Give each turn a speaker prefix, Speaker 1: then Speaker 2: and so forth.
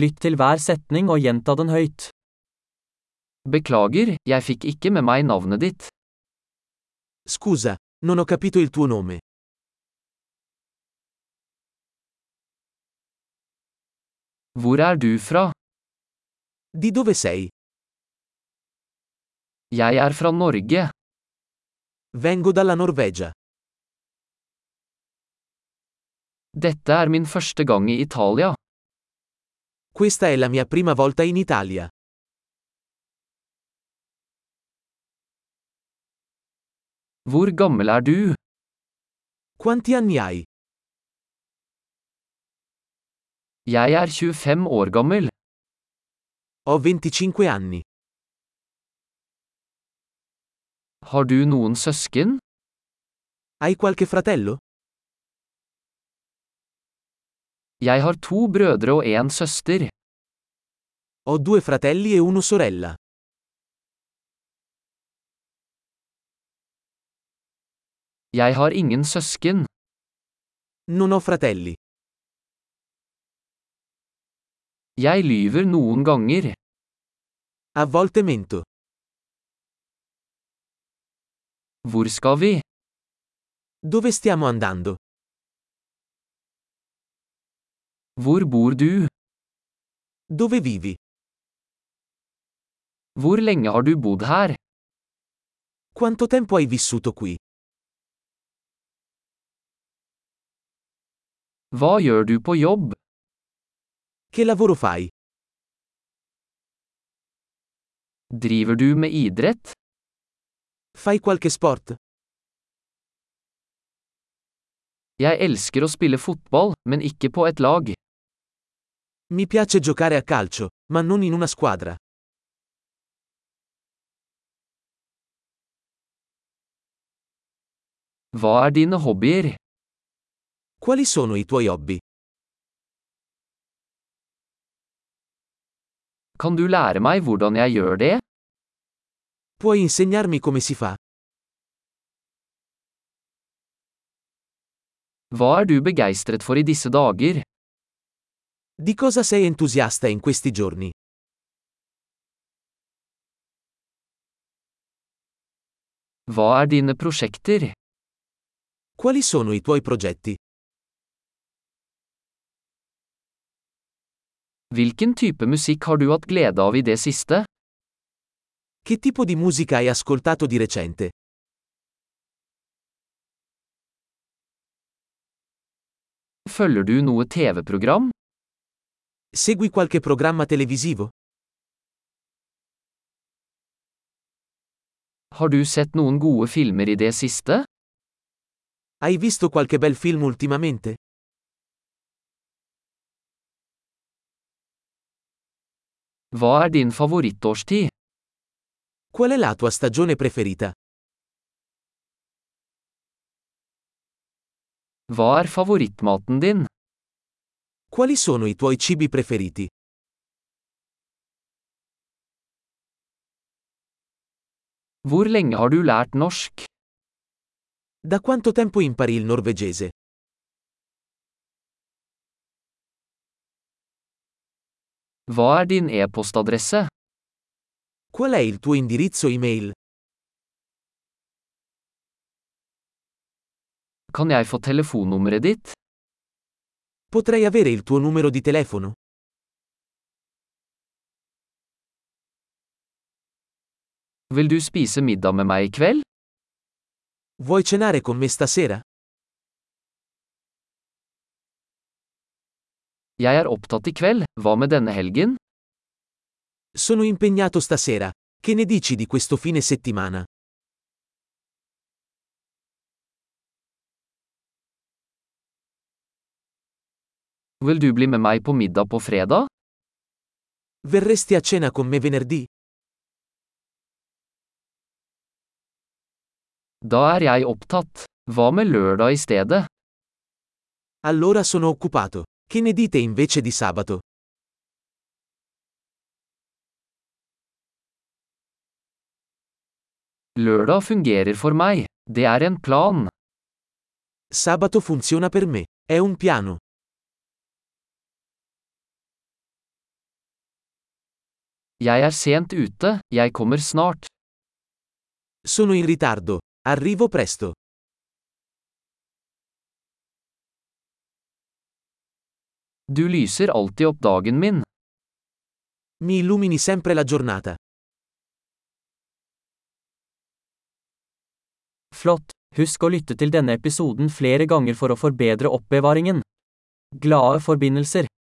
Speaker 1: Lytt til hver setning og gjenta den høyt.
Speaker 2: Beklager, jeg fikk ikke med meg navnet ditt.
Speaker 3: Scusa, non ho capito il tuo nome.
Speaker 2: Hvor er du fra?
Speaker 3: Di dove sei?
Speaker 2: Jeg er fra Norge.
Speaker 3: Vengo dalla Norvegia.
Speaker 2: Dette er min første gang i Italia.
Speaker 3: Questa è la mia prima volta in Italia.
Speaker 2: Hvor gammel er du?
Speaker 3: Quanti anni hai?
Speaker 2: Jeg er 25 år gammel.
Speaker 3: Ho 25 anni.
Speaker 2: Har du noen søsken?
Speaker 3: Hai qualche fratello?
Speaker 2: Jeg har to brødre og en søster.
Speaker 3: Ho due fratelli e una sorella.
Speaker 2: Jeg har ingen søsken.
Speaker 3: Non ho fratelli.
Speaker 2: Jeg lyver noen ganger.
Speaker 3: A volte mento.
Speaker 2: Hvor skal vi?
Speaker 3: Dove stiamo andando?
Speaker 2: Hvor bor du?
Speaker 3: Dove vivi?
Speaker 2: Hvor lenge har du bodd her?
Speaker 3: Quanto tempo hai vissuto qui?
Speaker 2: Hva gjør du på jobb?
Speaker 3: Che lavoro fai?
Speaker 2: Driver du med idrett?
Speaker 3: Fai qualche sport?
Speaker 2: Jeg elsker å spille fotball, men ikke på et lag.
Speaker 3: Mi piace giocare a calcio, ma non in una squadra.
Speaker 2: Hva er dine hobbyer?
Speaker 3: Quali sono i tuoi hobby?
Speaker 2: Kan du lære meg hvordan jeg gjør det?
Speaker 3: Puoi insegnarmi come si fa?
Speaker 2: Hva er du begeistret for i disse dager?
Speaker 3: Di cosa sei entusiasta in questi giorni?
Speaker 2: Hva er dine prosjekter?
Speaker 3: Quali sono i tuoi progetti?
Speaker 2: Hvilken type musikk har du hatt glede av i det siste?
Speaker 3: Che tipo di musica hai ascoltato di recente?
Speaker 2: Følger du noe TV-program?
Speaker 3: Segui qualche programma televisivo?
Speaker 2: Har du sett noen gode filmer i det siste?
Speaker 3: Hai visto qualche bel film ultimamente?
Speaker 2: Hva er din favorittårstid?
Speaker 3: Qual è la tua stagione preferita?
Speaker 2: Hva er favorittmaten din?
Speaker 3: Quali sono i tuoi cibi preferiti?
Speaker 2: Hvor lenge har du lært norsk?
Speaker 3: Da quanto tempo impari il norvegese?
Speaker 2: Hva er din e-postadresse?
Speaker 3: Qual è il tuo indirizzo email?
Speaker 2: Kan jeg få telefonnummeret ditt?
Speaker 3: Potrei avere il tuo numero di telefono?
Speaker 2: Vil du spise middag med meg i kveld?
Speaker 3: Vuoi cenare con me stasera?
Speaker 2: Jeg er opptatt i kveld, hva med denne helgen?
Speaker 3: Sono impegnato stasera. Che ne dici di questo fine settimana?
Speaker 2: Vil du bli med meg på middag på fredag?
Speaker 3: Verresti a cena con me venerdì?
Speaker 2: Da er jeg opptatt. Hva med lørdag i stedet?
Speaker 3: Allora sono occupato. Che ne dite invece di sabato?
Speaker 2: Lørdag fungerer for meg. Det er en plan.
Speaker 3: Sabato funziona per me. È un piano.
Speaker 2: Jeg er sent ute, jeg kommer snart.
Speaker 3: Sono in ritardo. Arrivo presto.
Speaker 2: Du lyser alltid opp dagen min.
Speaker 3: Mi illumini sempre la giornata.
Speaker 1: Flott! Husk å lytte til denne episoden flere ganger for å forbedre oppbevaringen. Glade forbindelser!